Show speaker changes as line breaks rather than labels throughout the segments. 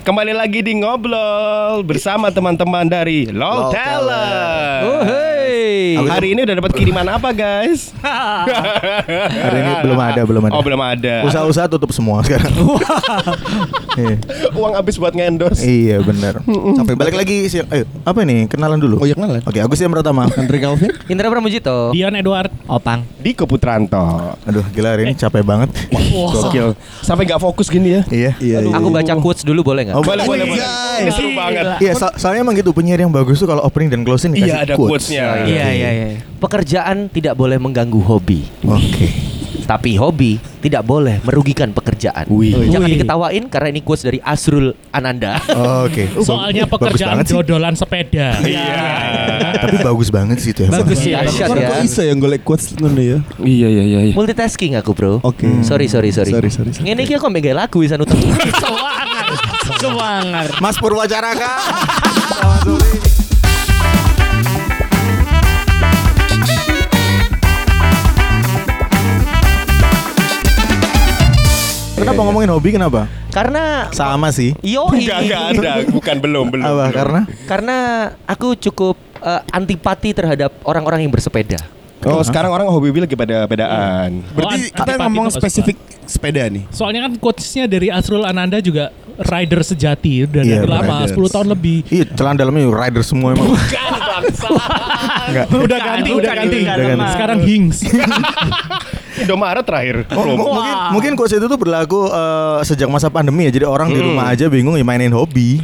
Kembali lagi di ngobrol bersama teman-teman dari LOL
Lol
Oh,
Talent.
Aku tuh-
Hari ini udah dapat kiriman apa, guys?
Hari ini belum ada, belum ada.
Oh, belum ada.
Usaha-usaha tutup semua sekarang. Iya.
Uang habis buat ngendorse.
iya benar. Sampai balik lagi sih. Ayo, apa ini? Kenalan dulu.
Oh, iya, kenalan.
Oke, Agus yang pertama.
Andre Calvin?
Indra Pramujito.
Dion Edward
Opang.
Di Keputranto.
Aduh, gila hari ini capek banget.
Gokil. Sampai nggak fokus gini ya.
Iya.
Iya,
Aku baca quotes dulu boleh nggak?
Oh,
Boleh, boleh, boleh.
Anjay.
Ini Seru banget.
Iya, so- soalnya emang gitu penyiar yang bagus tuh kalau opening dan closing dikasih
Iya, ada quotes-nya.
Iya, iya, iya. Pekerjaan tidak boleh mengganggu hobi.
Oke.
Tapi hobi tidak boleh merugikan pekerjaan.
Wih.
Jangan
Wih.
diketawain karena ini quotes dari Asrul Ananda.
Oke. So-
Soalnya
bagus
pekerjaan
banget sih.
dodolan sepeda.
Iya.
Tapi bagus banget sih itu emang.
Bagus ya.
Dahsyat
Orang
ya.
kok Kan bisa yang golek quotes ngono ya?
Iya, iya, iya. iya.
Multitasking aku, Bro. Hmm.
Oke.
Sorry, sorry, sorry.
Sorry, sorry, sorry.
Ini kok mega lagu anu isan utang.
Semangat. Semangat.
Mas Purwacaraka. Kenapa ngomongin hobi kenapa?
karena
Iya, Sama sih.
yo
Enggak, enggak ada. Bukan belum, belum.
Apa
belum.
karena?
Karena aku cukup eh, antipati terhadap orang-orang yang bersepeda.
Oh, sekarang orang hobi-hobi lagi pada pedaan.
Berarti
Berarti kita ngomong spesifik sepeda nih.
Soalnya kan quotesnya dari Asrul Ananda juga rider sejati udah
Iya,
dari lama
riders.
10 tahun lebih.
Iya, celana dalamnya rider semua emang. Enggak.
Udah
ganti, udah ganti.
Udah ganti.
Sekarang Hings.
Indomaret terakhir.
Oh, mu-
Promo.
mungkin mungkin quotes itu tuh berlaku eh, sejak masa pandemi ya. Jadi orang di rumah aja bingung ya mainin hobi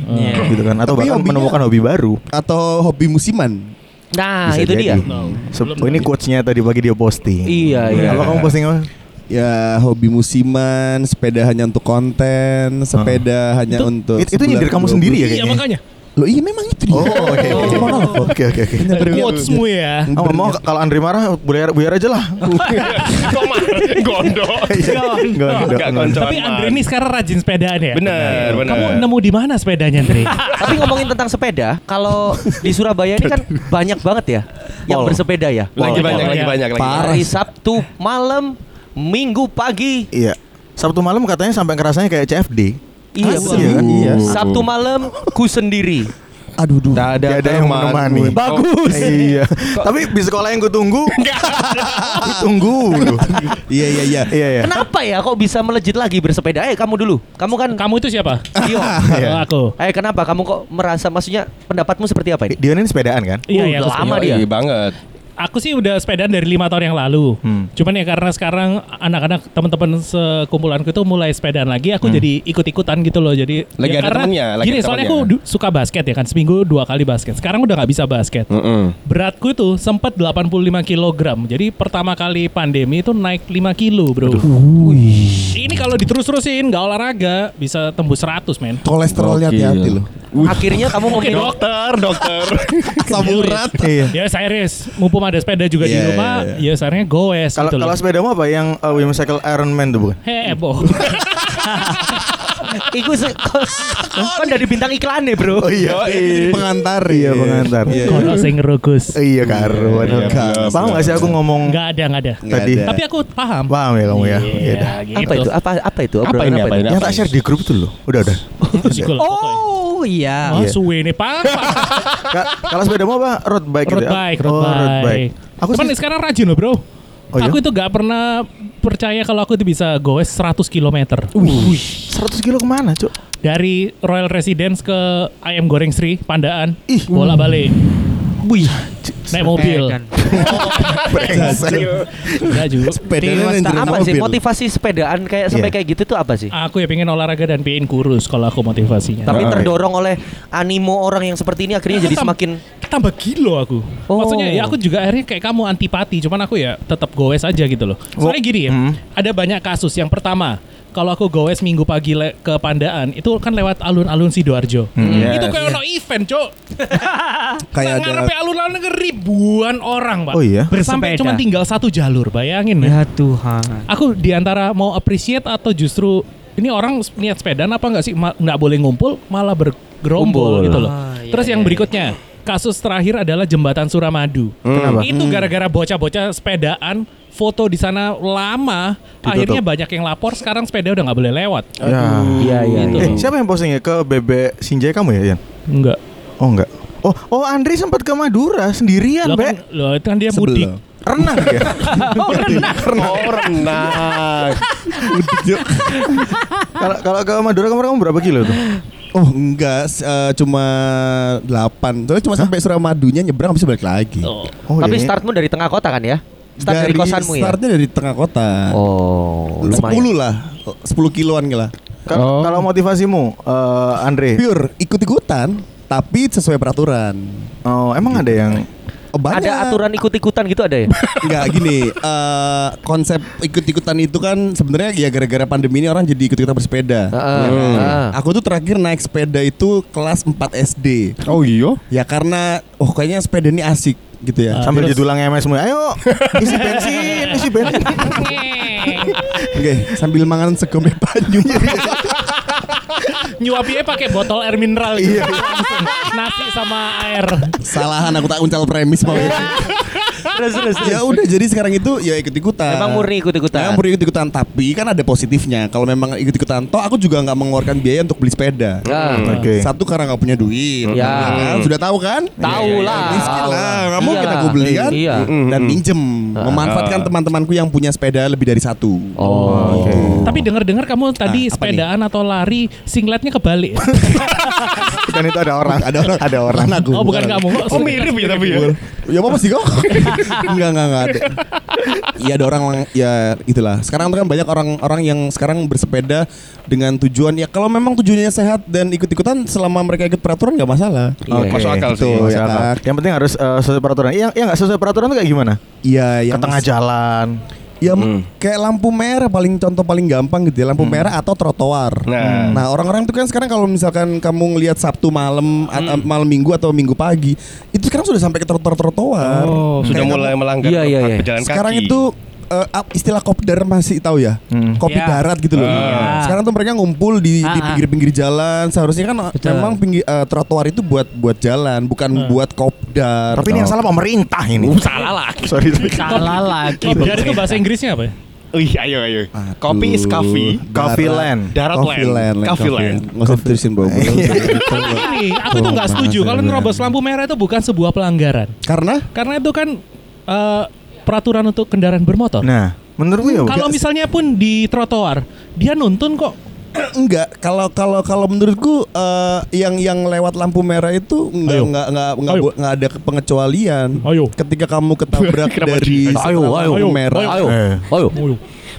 gitu kan atau
Tapi
bahkan
hobinya-
menemukan hobi baru.
Atau hobi musiman.
Nah,
Bisa
itu
jadi.
dia.
Se- ini quotesnya tadi pagi dia posting.
Iya, iya.
Apa kamu posting apa?
Ya hobi musiman, sepeda hanya untuk konten, sepeda hanya
Itu-
untuk
It- itu
sebulan
nyindir kamu
20.
sendiri ya
Iya
kayaknya.
makanya.
Loh iya memang itu dia.
Oh, oke.
Oh.
oke.
Monolog.
Oke, oke, oke.
Quotesmu ya.
Oh, mau kalau Andri marah buyar buyar aja lah.
Iya.
Kok marah? Gondok.
Iya,
Enggak,
Enggak gondok.
Tapi Andre ini sekarang rajin sepedaan ya.
Benar, benar.
Kamu nemu di mana sepedanya Andre?
Tapi ngomongin tentang sepeda, kalau di Surabaya ini kan banyak banget ya yang
Mall.
bersepeda ya.
lagi
Wow.
banyak, lagi
Iya.
banyak, lagi
Parah.
banyak.
Hari Sabtu malam, Minggu pagi.
Iya. Sabtu malam katanya sampai kerasanya kayak CFD.
Iya,
Asli.
betul.
kan?
Iya.
Sabtu malam ku sendiri.
Aduh, aduh.
Tak
Tidak ada yang
teman.
menemani.
Bagus.
Iya. Tapi di sekolah yang gue tunggu. Tunggu.
Iya, iya, iya.
Iya, iya.
Kenapa ya kok bisa melejit lagi bersepeda? Eh, kamu dulu. Kamu kan
Kamu itu siapa?
Dio.
Iya.
Oh, aku.
Eh, kenapa kamu kok merasa maksudnya pendapatmu seperti apa ini?
Dia ini sepedaan kan?
Iya,
Uh,
iya,
udah
aku
lama dia.
Yoi, banget.
Aku sih udah sepedaan dari lima tahun yang lalu.
Hmm.
Cuman ya karena sekarang anak-anak teman-teman sekumpulanku itu mulai sepedaan lagi, aku jadi ikut-ikutan gitu loh. Jadi
Hmm. Lagi ada
karena
temennya, lagi
gini,
ada
soalnya aku
temennya.
du- suka basket ya kan seminggu dua kali basket. Sekarang udah nggak bisa basket.
Mm-mm.
Beratku itu sempat 85 kg. Jadi pertama kali pandemi itu naik 5 kilo, Bro. Ini kalau diterus-terusin nggak olahraga bisa tembus 100, men.
Kolesterolnya hati-hati loh.
Akhirnya kamu minum
Dokter, dokter.
Asam urat.
Iya.
Ya saya Riz, mumpung ada sepeda juga di
Iya,
rumah,
iya,
ya seharusnya goes
Kalau
gitu
kalau
loh.
sepedamu apa yang uh, Wimsacle Iron Man tuh bukan?
Heboh.
Iku se- kan dari bintang iklan ya, Bro.
iya.
Oh, Pengantar.
Iya, pengantar.
Iya.
Kono sing rugus.
Iya, karuan.
Iya, iya,
Paham gak sih aku ngomong
Nggak ada, nggak ada.
Nggak
Tadi.
ada.
Tapi aku paham.
paham ya kamu Iya. ya? Iya. dah.
gitu.
Apa itu? Apa apa itu?
Apa
Obrolan
ini, apa ini?
Yang tak share di grup tuh loh. Udah, udah.
Juga lah pokoknya.
Oh, iya.
Wah,
Iya.
suwe nih papa.
Ka- kalau sepedamu apa? Road bike
road
gitu ya?
bike,
oh,
road bike.
Aku
Cuman
sih
sekarang rajin loh, Bro.
Oh, iya?
Aku itu gak pernah percaya kalau aku itu bisa goes 100 km.
100 kilo kemana, Cuk?
Dari Royal Residence ke Ayam Goreng Sri, Pandaan. Bola balik.
Wih.
Naik mobil. Enggak juga.
Sepedanya
Mas,
yang
tak
jadi
apa sih
mobil.
motivasi sepedaan kayak sampai
Iya.
kayak gitu tuh apa sih?
Aku ya pengen olahraga dan pengen kurus kalau aku motivasinya.
Tapi
Nah,
terdorong oleh animo orang yang seperti ini akhirnya Iya, jadi
Tam-
semakin
tambah gilo aku.
Oh.
Maksudnya ya aku juga akhirnya kayak kamu antipati, cuman aku ya tetap goes aja gitu loh. Soalnya gini ya, ada banyak kasus. Yang pertama, kalau aku goes minggu pagi le- ke Pandaan, itu kan lewat alun-alun Sidoarjo.
Yes.
Itu kayak ono event, Cok.
Kayak
Kayak
ada-
ngarepe alun-alun ke ribuan orang, Pak.
Oh iya?
Sampai
Bersepeda.
cuma tinggal satu jalur, bayangin
Iya,
ya.
Ya Tuhan.
Aku diantara mau appreciate atau justru ini orang niat sepedaan apa nggak sih Ma- nggak boleh ngumpul malah bergerombol gitu loh. Terus yang berikutnya kasus terakhir adalah jembatan Suramadu.
Kenapa?
Itu gara-gara bocah-bocah sepedaan foto di sana lama, akhirnya banyak yang lapor. Sekarang sepeda udah nggak boleh lewat.
Ya.
Iya iya.
Gitu.
Eh, siapa yang posting ya ke Bebek Sinjai kamu ya, Yan?
Enggak.
Oh enggak. Oh, oh Andri sempat ke Madura sendirian,
Lo
Bek.
kan, lo itu kan dia mudik.
Sebelum.
Renang ya?
Oh, renang.
Oh, renang.
Kalau kalau ke Madura kemarin kamu berapa kilo tuh?
Oh enggak, s- eh, cuma 8 Soalnya cuma sampai Suramadunya nyebrang habis balik lagi
Oh.
Oh,
Tapi
iya.
startmu dari tengah kota kan ya? Start dari, kosanmu ya?
Startnya dari tengah kota
Oh, lumayan.
10 lah 10 kiloan lah
Ka- Kalau motivasimu, eh, Andre,
Pure ikut-ikutan Tapi sesuai peraturan
oh emang ada yang
Oh, banyak.
Ada aturan ikut-ikutan gitu ada ya?
Enggak gini eh, Konsep ikut-ikutan itu kan sebenarnya ya gara-gara pandemi ini orang jadi ikut-ikutan bersepeda
Heeh. heeh.
Aku tuh terakhir naik sepeda itu kelas 4 SD
Oh iya.
Ya karena oh kayaknya sepeda ini asik gitu ya
Sambil
Terus-
jedulang MS mulai, ayo isi bensin, isi bensin.
Oke, sambil mangan segombe banyu.
Nyuapinnya pakai botol air mineral gitu. Langsung. Nasi sama air.
Salahan aku tak uncal premis mau.
Iya. Terus terus.
ya udah jadi sekarang itu ya ikut ikutan.
Memang murni ikut-ikutan.
Memang murni ikut ikutan tapi kan ada positifnya. Kalau memang ikut ikutan toh aku juga nggak mengeluarkan biaya untuk beli sepeda.
Nah,
Oke.
Satu karena nggak punya duit.
Ya. Iya,
kan? Sudah tahu kan?
Tahu lah.
Miskin lah. Nggak
Iya
mungkin
lah.
aku beli kan?
Iya. Ah.
Dan pinjem.
Ah.
Memanfaatkan teman-temanku yang punya sepeda lebih dari satu. Gitu.
Oh, oke.
Tapi dengar-dengar kamu tadi
apa
sepedaan atau lari singletnya kebalik.
Dan itu ada orang, ada orang, ada orang.
Aku.
oh bukan kamu.
Oh, mirip ya tapi ya.
ya apa sih kok? enggak enggak enggak ada. Ya ada orang lang- ya itulah. Sekarang tuh kan banyak orang-orang yang sekarang bersepeda dengan tujuan ya kalau memang tujuannya sehat dan ikut-ikutan selama mereka ikut peraturan nggak masalah.
Oke, Masuk akal sih.
Betul,
Masuk
ya
akal.
kan?
Iya, Yang penting harus eh, sesuai peraturan. Iya, iya nggak sesuai peraturan tuh kayak gimana?
Iya,
Ke
yang
tengah jalan.
Ya kayak lampu merah paling contoh paling gampang gitu ya lampu merah atau trotoar.
Nah.
Nah orang-orang itu kan sekarang kalau misalkan kamu ngelihat Sabtu malam at- malam minggu atau minggu pagi itu sekarang sudah sampai ke trotoar trotoar.
Oh,
Sudah mulai melanggar
Iya, iya,
hak
iya.
pejalan
sekarang
kaki.
itu eh, ap- istilah kopdar masih tahu ya
Ya.
kopi darat gitu loh
Ah.
sekarang tuh mereka ngumpul di di
Ah, ah.
pinggir-pinggir jalan seharusnya kan
Betul.
memang pinggir eh, trotoar itu buat buat jalan bukan
Hmm.
buat kopdar
Tapi ini yang salah pemerintah ini.
Uh,
Salah lagi.
Sorry. sorry.
Salah lagi.
Kopdar itu bahasa Inggrisnya apa? ya?
Ih, ayo ayo. Kopi is coffee.
Coffee land.
Darat
Coffee land,
land. Coffee land.
Nggak usah diterusin bro
Salah gini, aku tuh nggak setuju kalau nerobos lampu merah itu bukan sebuah pelanggaran.
Karena
Karena itu kan eh, peraturan untuk kendaraan bermotor.
Nah, menurutku ya.
Kalau misalnya pun di trotoar, dia nuntun kok.
enggak kalau kalau kalau menurutku eh, yang yang lewat lampu merah itu enggak
Ayo.
enggak enggak enggak,
Ayo.
bo- enggak ada pengecualian.
Ayo.
Ketika kamu ketabrak
Kenapa
dari
di-
Ayo,
setelah
ayo,
lampu merah.
Ayo,
Eh.
ayo.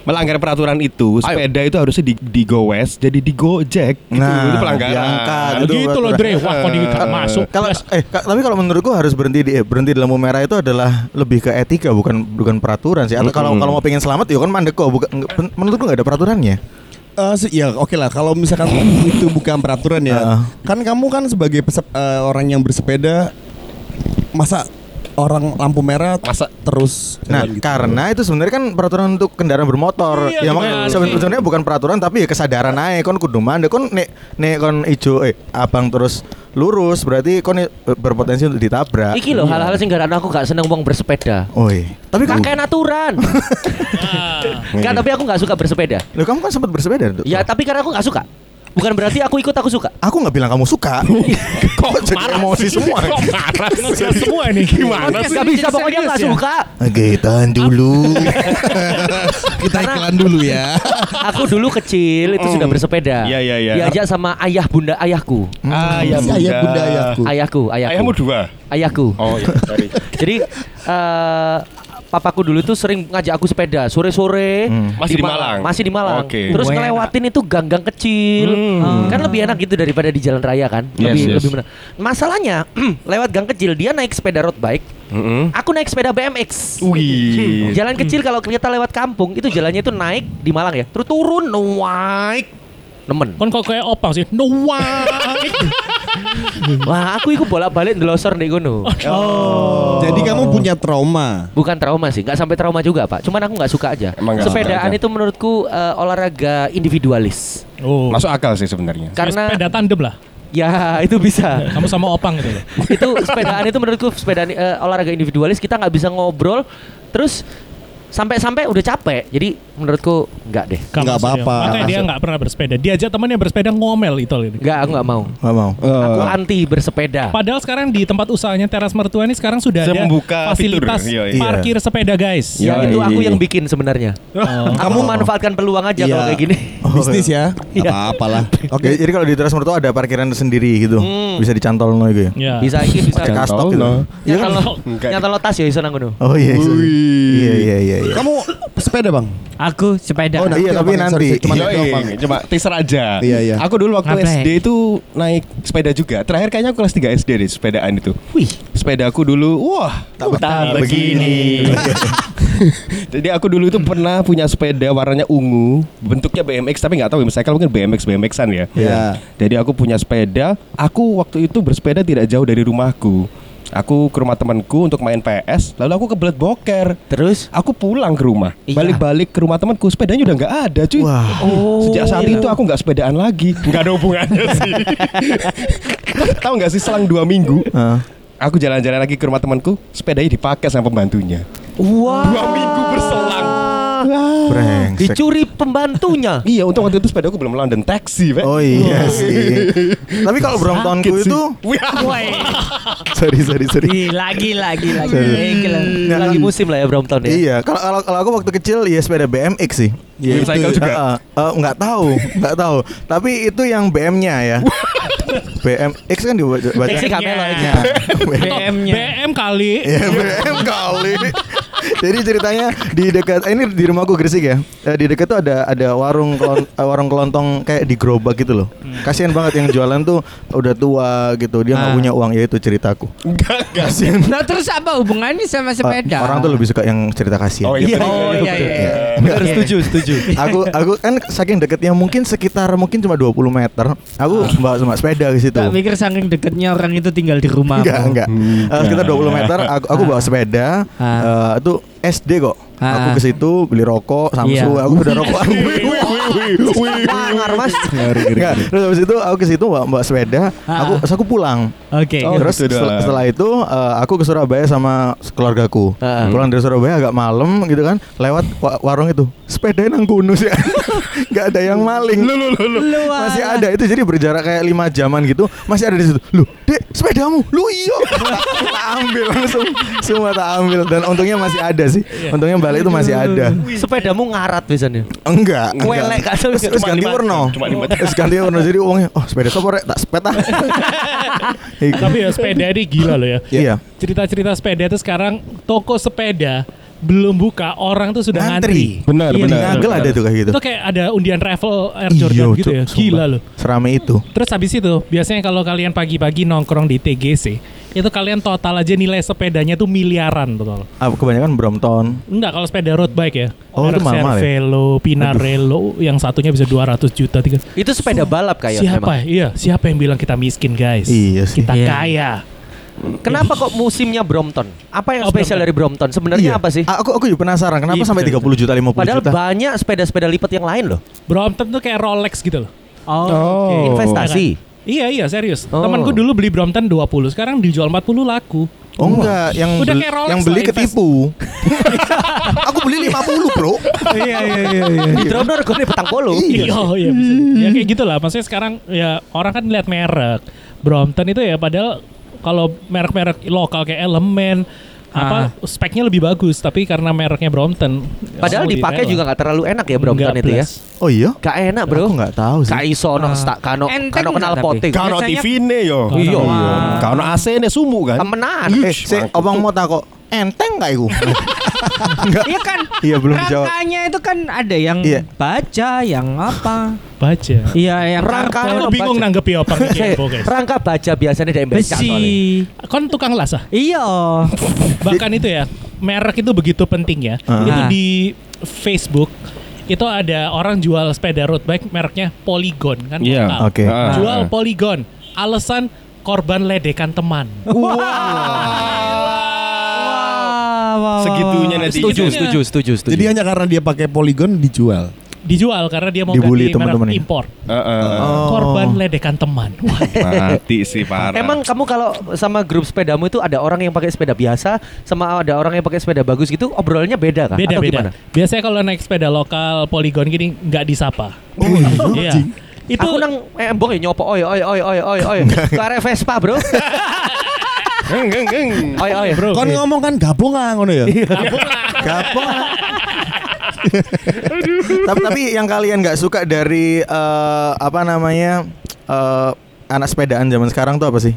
Melanggar peraturan itu, sepeda itu harusnya di, digowes jadi digojek. Gitu,
Nah,
itu pelanggaran.
diangkat. Aduh,
gitu loh
peraturan.
Dre, wah kok di masuk.
Kalau eh ka- tapi kalau menurutku harus berhenti di eh, berhenti di lampu merah itu adalah lebih ke etika bukan bukan peraturan sih. Atau kalau kalau mau pengen selamat ya kan mandek kok. Bukan, nggak- pen- menurutku nggak ada peraturannya.
Eh, se- ya oke lah kalau misalkan itu bukan peraturan ya
Heeh.
kan kamu kan sebagai pesep- eh, orang yang bersepeda masa orang lampu merah
Masa-
terus
Nah,
jalan gitu?
karena itu sebenarnya kan peraturan untuk kendaraan bermotor.
Iya,
ya makanya
benar.
seben- sebenarnya bukan peraturan tapi ya kesadaran aja kon kudu mandek kon nek nek kon ijo eh abang terus lurus berarti kon i- berpotensi untuk ditabrak.
Iki loh hal-hal sing garan aku gak seneng wong bersepeda.
Oi.
Tapi kakek aturan. Kan tapi aku gak suka bersepeda.
Loh kamu kan sempat bersepeda tuh.
Ya tapi karena aku gak suka. Bukan berarti aku ikut aku suka.
Aku nggak bilang kamu suka. Kok jadi emosi semua?
Kok marah semua nih gimana
Gak bisa pokoknya
ya.
gak suka.
Oke, tahan dulu.
kita iklan dulu ya
Aku dulu kecil itu sudah bersepeda.
Hmm. Iya, iya, iya.
Diajak sama ayah bunda ayahku.
Hmm. Ayah
Si
Iya, bunda.
Iya,
ayah bunda ayahku
Ayahku, ayahku.
Ayahmu dua.
Ayahku.
Oh iya, sorry.
Jadi eh papaku dulu tuh sering ngajak aku sepeda sore-sore
Hmm. Masih di
Ma-
Malang?
Masih di Malang.
Oke.
Terus
Wah, enak.
ngelewatin itu gang-gang kecil. Kan lebih enak gitu daripada di jalan raya kan?
Yes,
Lebih
yes.
lebih benar. Masalahnya lewat gang kecil dia naik sepeda road bike,
Mm-mm.
aku naik sepeda BMX.
Wih.
Jalan kecil kalau kita lewat kampung itu jalannya itu naik di Malang ya. Terus turun naik nemen.
Kon kok kayak opang sih. No why.
Wah, aku ikut bolak-balik ndelosor ndek kono.
jadi kamu punya trauma
Bukan trauma sih, nggak sampai trauma juga pak. Cuman aku nggak suka aja.
Emang nggak suka
Sepedaan
aja.
itu menurutku eh, olahraga individualis.
Oh.
Masuk akal sih sebenarnya.
Karena
sepeda tandem lah.
ya itu bisa.
Kamu sama opang gitu loh.
itu sepedaan itu menurutku sepedaan eh, olahraga individualis kita nggak bisa ngobrol. Terus sampai-sampai udah capek. Jadi menurutku enggak deh.
Nggak
Nggak
maksudnya.
apa-apa.
Makanya dia nggak pernah bersepeda. Diajak temannya bersepeda ngomel itu ini.
Enggak, aku enggak mau.
Gak mau.
Eh,
Aku
Eh.
anti bersepeda.
Padahal sekarang di tempat usahanya teras mertua ini sekarang sudah
Saya
ada
membuka
fasilitas
fitur. Iya,
iya.
parkir sepeda guys.
Ya,
Oh,
Iya,
itu
iya,
aku
iya.
yang bikin sebenarnya. Kamu manfaatkan peluang aja
Iya.
kalau kayak gini.
Bisnis ya.
Iya.
Apa-apalah.
Oh, Oke, jadi kalau di teras mertua ada parkiran sendiri gitu. Bisa dicantol no gitu ya.
Iya.
Ya.
Bisa ini bisa.
Pakai kastop gitu.
Cantol,
Ya kalau
Enggak.
nyata lo tas ya iso nang ngono.
Oh iya. iya. Iya iya iya. iya.
Kamu sepeda bang?
Aku sepeda.
Oh, nah. iya, tapi nanti.
Cuma
Iya,
coba teaser aja.
Iya, iya.
Aku dulu waktu
Ngapain?
SD itu naik sepeda juga. Terakhir kayaknya aku kelas 3 SD deh sepedaan itu. Wih, sepeda aku dulu wah
Tak begini.
Jadi aku dulu itu pernah punya sepeda warnanya ungu, bentuknya BMX tapi nggak tahu ya, misalkan mungkin BMX BMXan ya.
Iya.
Jadi aku punya sepeda, aku waktu itu bersepeda tidak jauh dari rumahku. Aku ke rumah temanku untuk main PS, lalu aku kebelet boker.
Terus
Aku pulang ke rumah,
Iya.
balik-balik ke rumah temanku, sepedanya udah nggak ada cuy.
Wah.
Sejak saat itu aku nggak sepedaan lagi. Nggak ada hubungannya sih. tahu nggak sih selang dua minggu,
Hah.
aku jalan-jalan lagi ke rumah temanku, sepedanya dipakai sama pembantunya.
wah
Dua minggu berselang.
Brengsek.
dicuri pembantunya.
Iya, untung waktu itu sepeda aku belum London taxi, Pak.
Oh iya sih. Tapi kalau Bromptonku itu sorry sorry sorry.
Gila, gila, gila,
Sorry.
gila, gila.
Nah,
Lagi musim lah ya Brompton ya.
Iya, kalau kalau kalau aku waktu kecil ya sepeda BMX sih.
Iya,
Itu,
cycle juga.
eh, eh, eh, nggak tahu, nggak tahu. Tapi itu yang BM-nya ya. BMX kan dibaca.
X
baca-
kamera
Iya. BM-nya.
BM kali.
Iya,
Ya BM kali. Jadi ceritanya di dekat eh, ini di rumahku Gresik ya. Eh, Di dekat tuh ada ada warung kelon- eh, warung kelontong kayak di gerobak gitu loh. Kasihan banget yang jualan tuh udah tua gitu. Dia nggak punya uang ya itu ceritaku. Kasihan.
Nah terus apa hubungannya sama sepeda?
Eh, Orang tuh lebih suka yang cerita kasihan.
Oh iya.
Oh iya iya. iya.
Bener,
Iya.
setuju, setuju. aku aku kan saking deketnya mungkin sekitar mungkin cuma 20 meter. Aku bawa sama sepeda ke situ.
Tak pikir saking deketnya orang itu tinggal di rumah.
Enggak, enggak. Eh, sekitar 20 meter aku, aku bawa sepeda.
Ah.
eh, itu SD kok.
Ah.
Aku ke situ beli rokok, Samsu,
Iya.
aku udah rokok.
Pangar Mas.
Iya,
Enggak, terus habis itu aku ke situ bawa, bawa sepeda,
Ah.
aku terus aku pulang.
Oke.
Oh,
terus
gitu
setel-
doang.
setelah itu eh, aku ke Surabaya sama keluargaku.
Ah.
Pulang dari Surabaya agak malam gitu kan, lewat wa- warung itu. Sepedanya nang gunung sih. Enggak ada yang maling. Masih ada itu jadi berjarak kayak lima jaman gitu masih ada di situ. Lu, Dek, sepedamu. Lu iya. Tak- tak ambil langsung. Semua tak ambil dan untungnya masih ada sih. Untungnya balik itu masih ada.
Sepedamu ngarat biasanya.
Enggak. enggak.
Welek, Kak.
Terus terus
Cuma
ganti
lima-
warna.
cuma lima
Terus ganti warna jadi uangnya oh sepeda sopo rek tak sepeda. Iku.
Tapi ya sepeda ini gila loh ya.
Iya.
Cerita-cerita sepeda itu sekarang toko sepeda belum buka, orang tuh sudah
Ngantri.
ngantri.
Benar,
Iya,
benar.
benar,
Ngagel
benar.
ada tuh kayak gitu.
Itu kayak ada undian travel Air
Iya,
Jordan gitu
Cuk,
ya.
sumpah.
Gila loh.
Serame itu.
Terus habis itu, biasanya kalau kalian pagi-pagi nongkrong di TGC, itu kalian total aja nilai sepedanya tuh miliaran total.
Ah, kebanyakan Brompton.
Enggak, kalau sepeda road bike ya.
Oh, itu
Merek
mahal ya?
Cervelo, Pinarello, yang satunya bisa 200 juta. Tiga.
Itu sepeda balap kayak
siapa?
memang.
ya? Iya, siapa yang bilang kita miskin, guys?
Iya sih.
Kita
Iya.
kaya.
Kenapa kok musimnya Brompton? Apa yang
Oh,
spesial
Brompton.
dari Brompton? Sebenarnya apa sih?
Iya. Aku aku juga penasaran kenapa
Iya,
sampai
betul,
30 juta 50
Padahal
juta.
banyak sepeda-sepeda lipat yang lain loh.
Brompton tuh kayak Rolex gitu loh.
Oh.
Investasi.
Iya, iya, serius.
Oh.
Temanku dulu beli Brompton 20, sekarang dijual 40 laku.
Oh enggak, yang
Udah
beli,
kayak Rolex
yang beli
lah,
ketipu. aku beli 50, Bro.
iya, iya, iya, iya.
Di drone regane petang polo.
Iya, oh, iya bisa. Ya kayak gitu lah. Maksudnya sekarang ya orang kan lihat merek. Brompton itu ya padahal kalau merek-merek lokal kayak Elemen
Ah.
apa speknya lebih bagus tapi karena mereknya Brompton ya
Padahal
mau
dipakai
direla.
juga nggak terlalu enak ya Brompton
Nggak
itu ya.
plus.
Oh iya.
Gak enak bro.
Aku nggak tahu sih.
Gak iso no sta- kano
Enteng
kano kenal
nggak
poting.
tapi?
Kano
Biasanya-
TV ne yo.
Iya.
Kano AC ne sumu kan.
Temenan.
Eh, si obang mau takok enteng gak iku?
Iya kan?
Iya, belum dijawab.
Rangkanya itu kan ada yang
Iya.
baja, yang apa?
baca
Iya, yang
Rangka
karpet,
aku
Kalau
bingung
baca-
nanggepi opang ini
Saya-
info, guys
Rangka baja biasanya dari embekan soalnya.
besi.
kon tukang las ah
Iya.
bahkan itu ya merek itu begitu penting ya
Ah.
itu di Facebook itu ada orang jual sepeda road bike mereknya Polygon kan
Iya,
lokal.
oke.
Ah.
jual Polygon alasan korban ledekan teman
Oh,
Wah, wah, wah,
Segitunya
wah.
netizen.
Setuju, setuju, setuju, setuju.
Jadi hanya karena dia pakai poligon dijual.
dijual karena dia mau
Dibully
ganti merek
teman-temannya.
impor.
Heeh.
Oh.
Korban ledekan teman. Wah,
Mati sih parah.
Emang kamu kalau sama grup sepedamu itu ada orang yang pakai sepeda biasa sama ada orang yang pakai sepeda bagus gitu obrolannya beda kan? Atau gimana?
beda-beda. Biasanya kalau naik sepeda lokal poligon gini nggak disapa.
Oh iya.
Iya. Itu
Aku nang embong ya nyopo oi oi oi oi oi oi. Ke arah Vespa, Bro.
Geng, geng, geng.
Oi oi.
bro. iya.
Kon ngomong kan gabung ah ngono ya.
tapi tapi yang kalian nggak suka dari eh, apa namanya eh, anak sepedaan zaman sekarang tuh apa sih?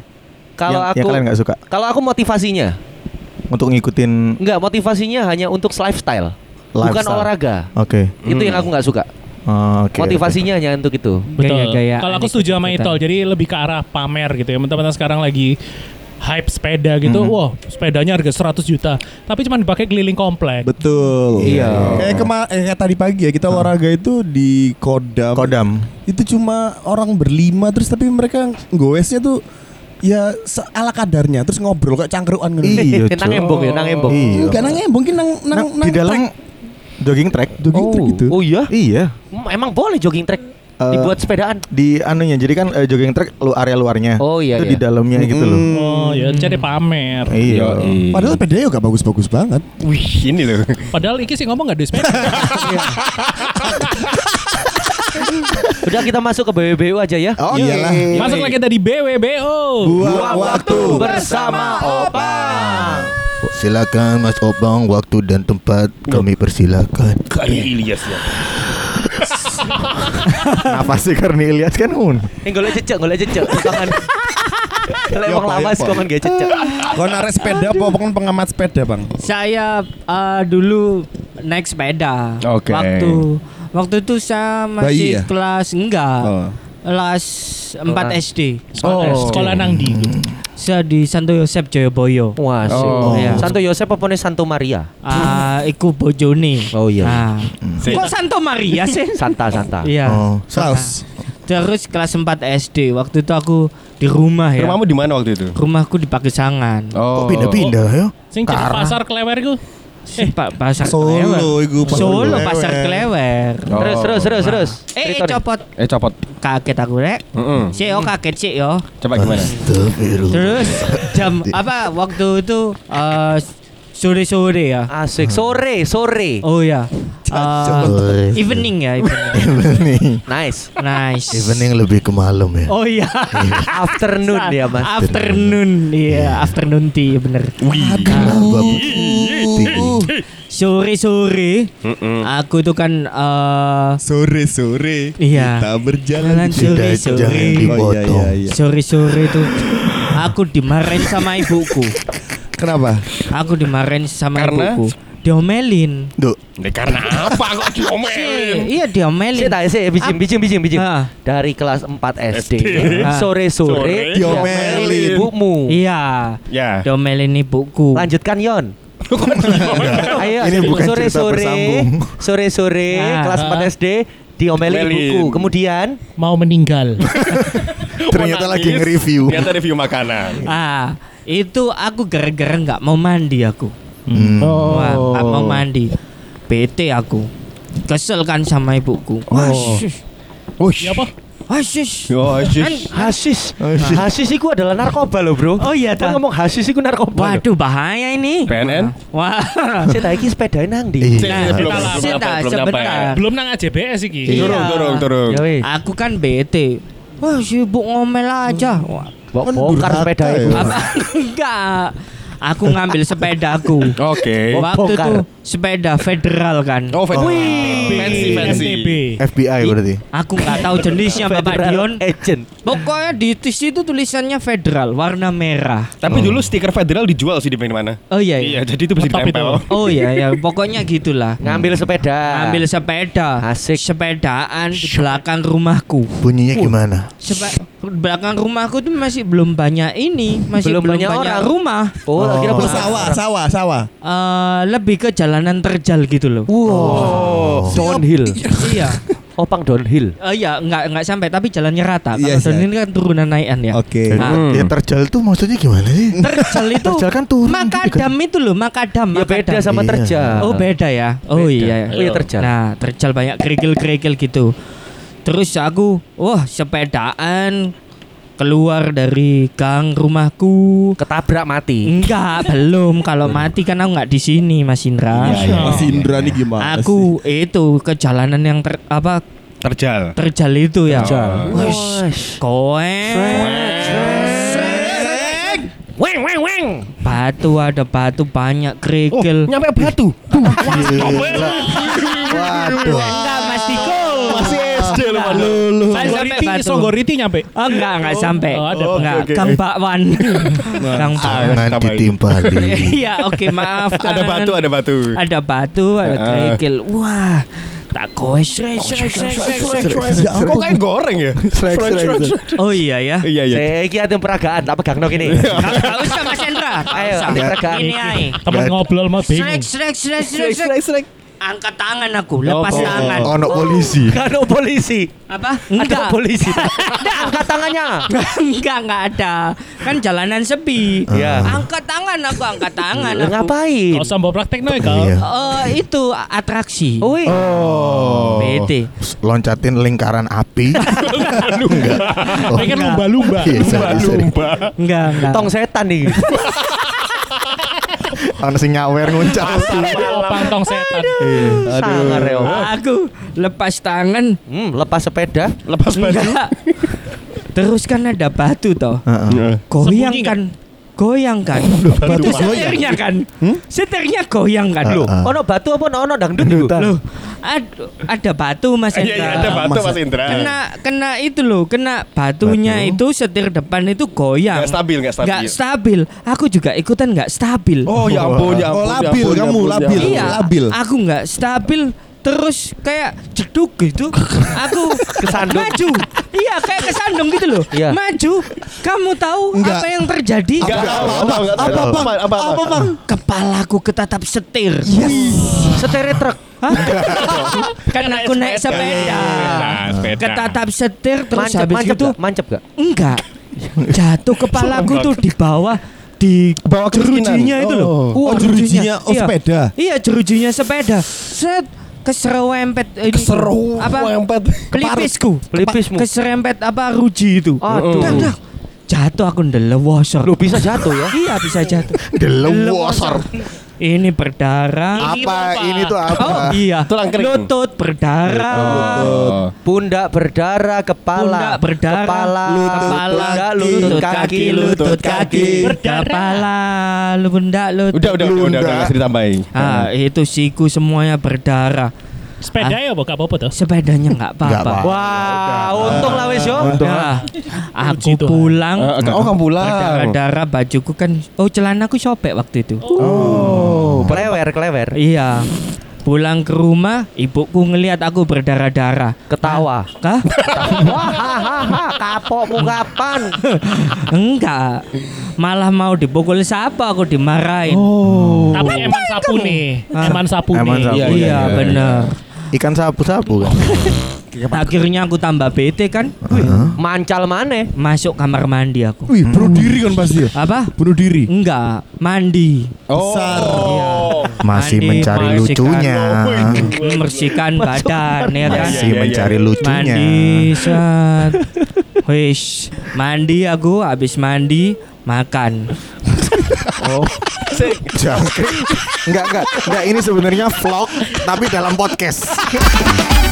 Kalau
Yang- yang
aku
kalian nggak suka
kalau aku motivasinya
untuk ngikutin
Enggak, motivasinya hanya untuk lifestyle, bukan
Lifestyle.
olahraga.
Oke.
Itu yang aku nggak suka.
Oh, oke,
motivasinya hanya untuk itu.
Betul.
Gaya-gayaan
Kalau aku setuju sama
ikut-ikutan.
Itol, jadi lebih ke arah pamer gitu ya. Teman-teman sekarang lagi hype sepeda gitu.
Mm-hmm.
Wow, sepedanya harga 100 juta. Tapi cuma dipakai keliling komplek.
Betul.
Iya.
Kayak kema- eh, kayak tadi pagi ya kita olahraga itu di Kodam.
oke. Kodam.
Itu cuma orang berlima terus tapi mereka goesnya tuh ya se- ala kadarnya terus ngobrol kayak cangkruan gitu.
Iya,
nang
Cok.
embong ya, nang embong.
Iya.
Enggak nang mungkin nang nang,
Nang,
nang
di dalam
track.
jogging track.
jogging track gitu.
Oh iya?
Iya.
Hmm, Emang boleh jogging track
Eh,
dibuat sepedaan?
Di anunya. Jadi kan eh, jogging track lu area luarnya.
Oh, iya,
Itu
iya.
di dalamnya gitu loh.
Oh, ya jadi pamer.
Iya.
Padahal sepedanya juga bagus-bagus banget.
Wih, ini loh.
Padahal iki sih ngomong gak duit sepeda.
Udah kita masuk ke BBBU aja ya.
Oh,
Iyalah.
Masuk lagi tadi BWBO.
Buang
bersama Opang.
Oh, Silakan Mas Obang waktu dan tempat kami persilakan.
Ilyas ya.
Kenapa sih karena Ilyas kan un?
Eh, golek jejak, golek jejak. Tangan. Kalau emang
Yopo,
lama sih
yopo.
kongan gak jejak.
Kau narik sepeda apa pengen pengamat sepeda, Bang?
Saya eh, dulu naik sepeda.
Oke.
Waktu waktu itu saya
Bayi
masih
ya?
kelas enggak.
Oh.
Kelas 4
Kelas-
SD.
Oh, sekolah nang di.
Hmm.
Saya di Santo Yosep Joyoboyo.
Wah, sih.
Oh.
Iya.
Santo Yosep apa nih Santo Maria?
Ah, iku bojone.
Oh, iya.
Ah.
Si-
Kok Santo Maria sih?
Santa, Santa.
Iya.
Oh.
Saus.
Terus kelas 4 SD. Waktu itu aku di rumah ya.
Rumahmu di mana waktu itu?
Rumahku di Pakisangan.
Oh.
pindah-pindah ya?
Sing jadi pasar kelewer ku.
Eh, Pak Pasar Klewer.
Solo iku
Solo Pasar Klewer.
Oh.
Terus, terus, terus, terus.
Eh, eh,
Ceritanya.
copot.
Eh copot.
Kaget aku rek.
Mm-mm.
Sik
Hmm.
yo kaget sik yo.
Coba gimana?
Terus jam apa waktu itu eh, sore-sore ya.
Asik. Sore, sore.
Oh ya. Eh, evening ya, evening.
Evening.
Nice.
Nice.
lebih ke malam ya.
Oh iya.
Afternoon ya, Mas.
Afternoon, iya, afternoon tea bener.
iya.
Sore-sore, aku itu kan eh,
Sore-sore
Iya.
kita berjalan
Jalan sore sore
dipotong.
Iya.
sore sore itu aku dimarahin sama ibuku
Kenapa?
aku dimarahin sama
Karena?
ibuku diomelin
Duh,
Nih, karena apa kok diomelin?
iya
Sih,
diomelin
tak, sih, bijing, bijing, bijing, bijing.
Ah.
Dari kelas 4 SD,
Ah.
Sore.
sore-sore diomelin
Diomelin.
ibumu.
iya
Nah.
Ya.
diomelin ibuku
Lanjutkan Yon. Ayo,
Ini bukan cerita
sore-sore,
bersambung.
sore-sore,
Ah.
kelas 4 SD diomelin
Diomelin.
ibuku. Kemudian
Mau meninggal.
ternyata
Mau
lagi
nangis.
nge-review.
Ternyata review makanan.
ah itu aku gara-gara nggak mau mandi aku
Hmm.
Wah, nggak mau mandi bete aku kesel kan sama ibuku Wasis,
Wush.
Ya apa?
wasis.
Oh,
Kan,
shit.
hasis.
Hasis.
Hasis itu adalah narkoba loh, Bro.
Oh, iya,
Kita
tak.
ngomong hasis itu narkoba. loh.
waduh bahaya ini
PNN?
wah
Saya tak iki sepeda nang
Iya.
ndi?
Saya belum
Nah,
belum
sebentar,
nyampe, belum nyampe.
sebentar.
Belum nang AJBS iki.
Iya.
Turun, turun, turun.
Ya weh,
Aku kan bete. Wah sibuk ngomel aja. Wah,
bok-
Kan
bongkar
durhaka
sepeda
ya.
ibu.
apa enggak? Aku ngambil sepedaku.
Oke.
Waktu
bongkar.
itu sepeda federal kan.
Eh, Oh, Fed- fancy, fancy.
FTB.
FBI berarti.
Aku nggak tahu jenisnya Bapak
Federal Eh.
Dion.
Agent.
Pokoknya di di situ tulisannya federal warna merah.
Tapi
Oh.
dulu stiker federal dijual sih di mana?
Oh iya.
Iya,
iya.
jadi itu bisa
Tetap itu.
ditempel.
Oh iya ya, pokoknya gitulah.
Ngambil sepeda.
Ambil sepeda,
Nah. Asik.
sepedaan di belakang rumahku.
Bunyinya gimana?
Sepa- belakang rumahku tuh masih belum banyak ini, masih
Belum
belum,
banyak
banyak,
orang.
rumah.
Oh,
Oh.
kira
Oh,
belum-
sawah, sawah, sawah.
Eh, lebih ke jalanan terjal gitu loh.
Wow. Downhill.
iya.
Oh, pang downhill.
Eh iya, enggak enggak sampai tapi jalannya rata. Kalau
Yes,
downhill kan turunan naikan ya.
Oke.
Nah,
Hmm.
Ya terjal tuh maksudnya gimana sih?
terjal itu
Terjal kan turun.
makadam itu loh, makadam,
Ya beda
makadam.
sama
Iya.
terjal.
Oh, beda ya. Oh
Eh, Beda.
iya.
Oh, iya, terjal.
Nah, terjal banyak kerikil-kerikil gitu. Terus aku, wah, sepedaan keluar dari gang rumahku.
Ketabrak mati.
Enggak, belum. Kalau mati kan aku enggak di sini, Mas Indra.
Iya, iya. Mas Indra nih gimana sih?
Aku itu ke jalanan yang ter, apa
Terjal.
terjal itu ya.
Terjal.
Wes, koeng.
Weng weng weng. Oh,
Batu ada batu banyak kerikil.
nyampe batu.
Gila. Waduh.
Enggak, Mas Diko.
Masih SD lu Manu.
Saya sampai
Songgoriti,
batu.
Songgoriti nyampe.
Oh, enggak, enggak sampai.
oh, ada.
enggak, Kang Bakwan. Kang Bakwan.
Jangan ditimpali.
Iya, oke, maaf. Kang.
Ah, Ada batu, Ah, ada batu.
Ada batu, ada
Heeh.
kerikil. Wah, tak koes. res, res, res, res, res.
Kok kayak goreng ya?
Srek, srek, srek.
Oh iya ya.
Iya iya.
Saya iki ati peragaan, tak pegang nok ini.
Enggak enggak usah Mas Hendra. Enggak
Ayo,
usah.
nanti perekaan.
Ini ae.
Teman
Iya.
ngobrol mah bingung.
Srek, srek, srek, srek, srek. Angkat tangan aku, lepas
Oh, oh,
tangan.
Ono polisi.
Kan polisi.
Apa?
Ada
Enggak.
polisi. Enggak angkat tangannya.
enggak, enggak ada. Kan jalanan sepi.
Iya.
Ah.
Angkat tangan aku, angkat tangan
Lah,
aku.
Ngapain?
Kau sambo praktek no ya kau.
Iya.
Eh, itu atraksi.
Oi.
Oh.
PT.
Loncatin lingkaran api. Oh,
Pengen
enggak.
lumba-lumba.
Iya, sorry, sorry.
Enggak, enggak.
Tong setan nih.
Ono sing nyawer nguncang.
Oh, pantong setan.
Sangar
Oh.
ya. Om.
Aku lepas tangan.
Hmm, lepas sepeda.
Lepas batu.
Enggak. Terus kan ada batu toh.
Heeh.
Iya.
Goyang
Sembunyi
kan. Goyang kan.
Oh,
Itu setirnya kan.
Hmm?
Setirnya goyang kan. Loh.
Ah.
Ono batu apa ono dangdut itu?
Loh. Aduh, ada batu Mas
Iya iya
Hendra.
ada batu Mas Indra.
Kena kena itu loh, kena batunya itu setir depan itu goyang.
Nggak stabil, nggak stabil.
Nggak stabil. Aku juga ikutan nggak stabil.
Oh ya ampun ya ampun.
Oh,
ya
labil
ampun, ya ampun,
kamu,
ya
labil.
ampun.
Iya,
labil.
aku nggak stabil terus kayak jeduk gitu. Aku
Kesandung.
Maju. Iya, kayak kesandung gitu loh.
Iya.
Maju. Kamu tahu
Enggak.
apa yang terjadi?
Nggak, apa apa nggak tahu.
Apa, Bang?
apa apa.
Apa, Bang?
Kepalaku ketatap setir.
Iya.
Setere truk.
Hah? kan aku naik sepeda. Ketatap setir terus
Nah, Mancep,
habis
mancep
gitu? itu
gak? Mancep gak?
enggak. Jatuh kepalaku tuh di bawah di
Bawa kemiskinan.
jerujinya itu loh.
Oh. Oh, jerujinya. Oh,
Iya.
sepeda.
Iya, jerujinya sepeda. Set keserempet ini.
Wempet.
Pelipisku.
Pelipismu.
Kepa- Keserempet apa ruji itu.
Aduh.
Dak, dak. Jatuh aku ndelewosor.
Lu bisa jatuh ya?
Iya, bisa jatuh.
Delewosor.
Ini berdarah.
Apa ini tuh
Oh
apa?
iya,
Tulang kering.
lutut berdarah.
Oh.
Pundak berdarah, kepala,
Pundak berdarah,
kepala,
lutut,
pundak,
kaki,
lutut, kaki, lutut, kaki.
Berdarah.
kepala, lu pundak, lutut.
Udah udah udah udah
Lunda.
nggak usah ditambahin.
Ah, itu siku semuanya berdarah.
Sepeda ya bukan apa-apa tuh.
Sepedanya
Nggak
nggak apa-apa.
apa-apa.
Wah, untung lah wis yo.
Oh, ya.
Nah,
Puji
aku
Tuhan.
pulang
Eh, eh, Oh kamu pulang.
berdarah-darah bajuku kan oh celanaku sobek waktu itu.
Oh.
Kelewer, kelewer.
Iya. Pulang ke rumah, ibuku ngelihat aku berdarah-darah.
Ketawa.
Kah?
Wah, hahaha, kapokmu kapan?
Enggak. Malah mau dipukul siapa aku dimarahin.
Tapi eman sapu nih. Eman sapu
Eman
nih.
sapu.
iya,
Oh, iya,
iya,
iya, iya.
bener.
Ikan sapu-sapu kan.
Akhirnya aku tambah bete kan.
Mancal maneh.
Masuk kamar mandi aku.
Wih, bunuh diri kan pasti ya?
Apa?
Bunuh diri.
Enggak, mandi. Iya.
Besar.
Oh.
Masih
Mandi,
mencari
masih
lucunya.
Membersihkan badan ya kan.
Iya,
Masih
iya,
mencari
iya.
lucunya.
Mandi set. Wish, mandi aku habis mandi makan.
Jangkrik. Enggak, enggak. Enggak ini sebenarnya vlog tapi dalam podcast.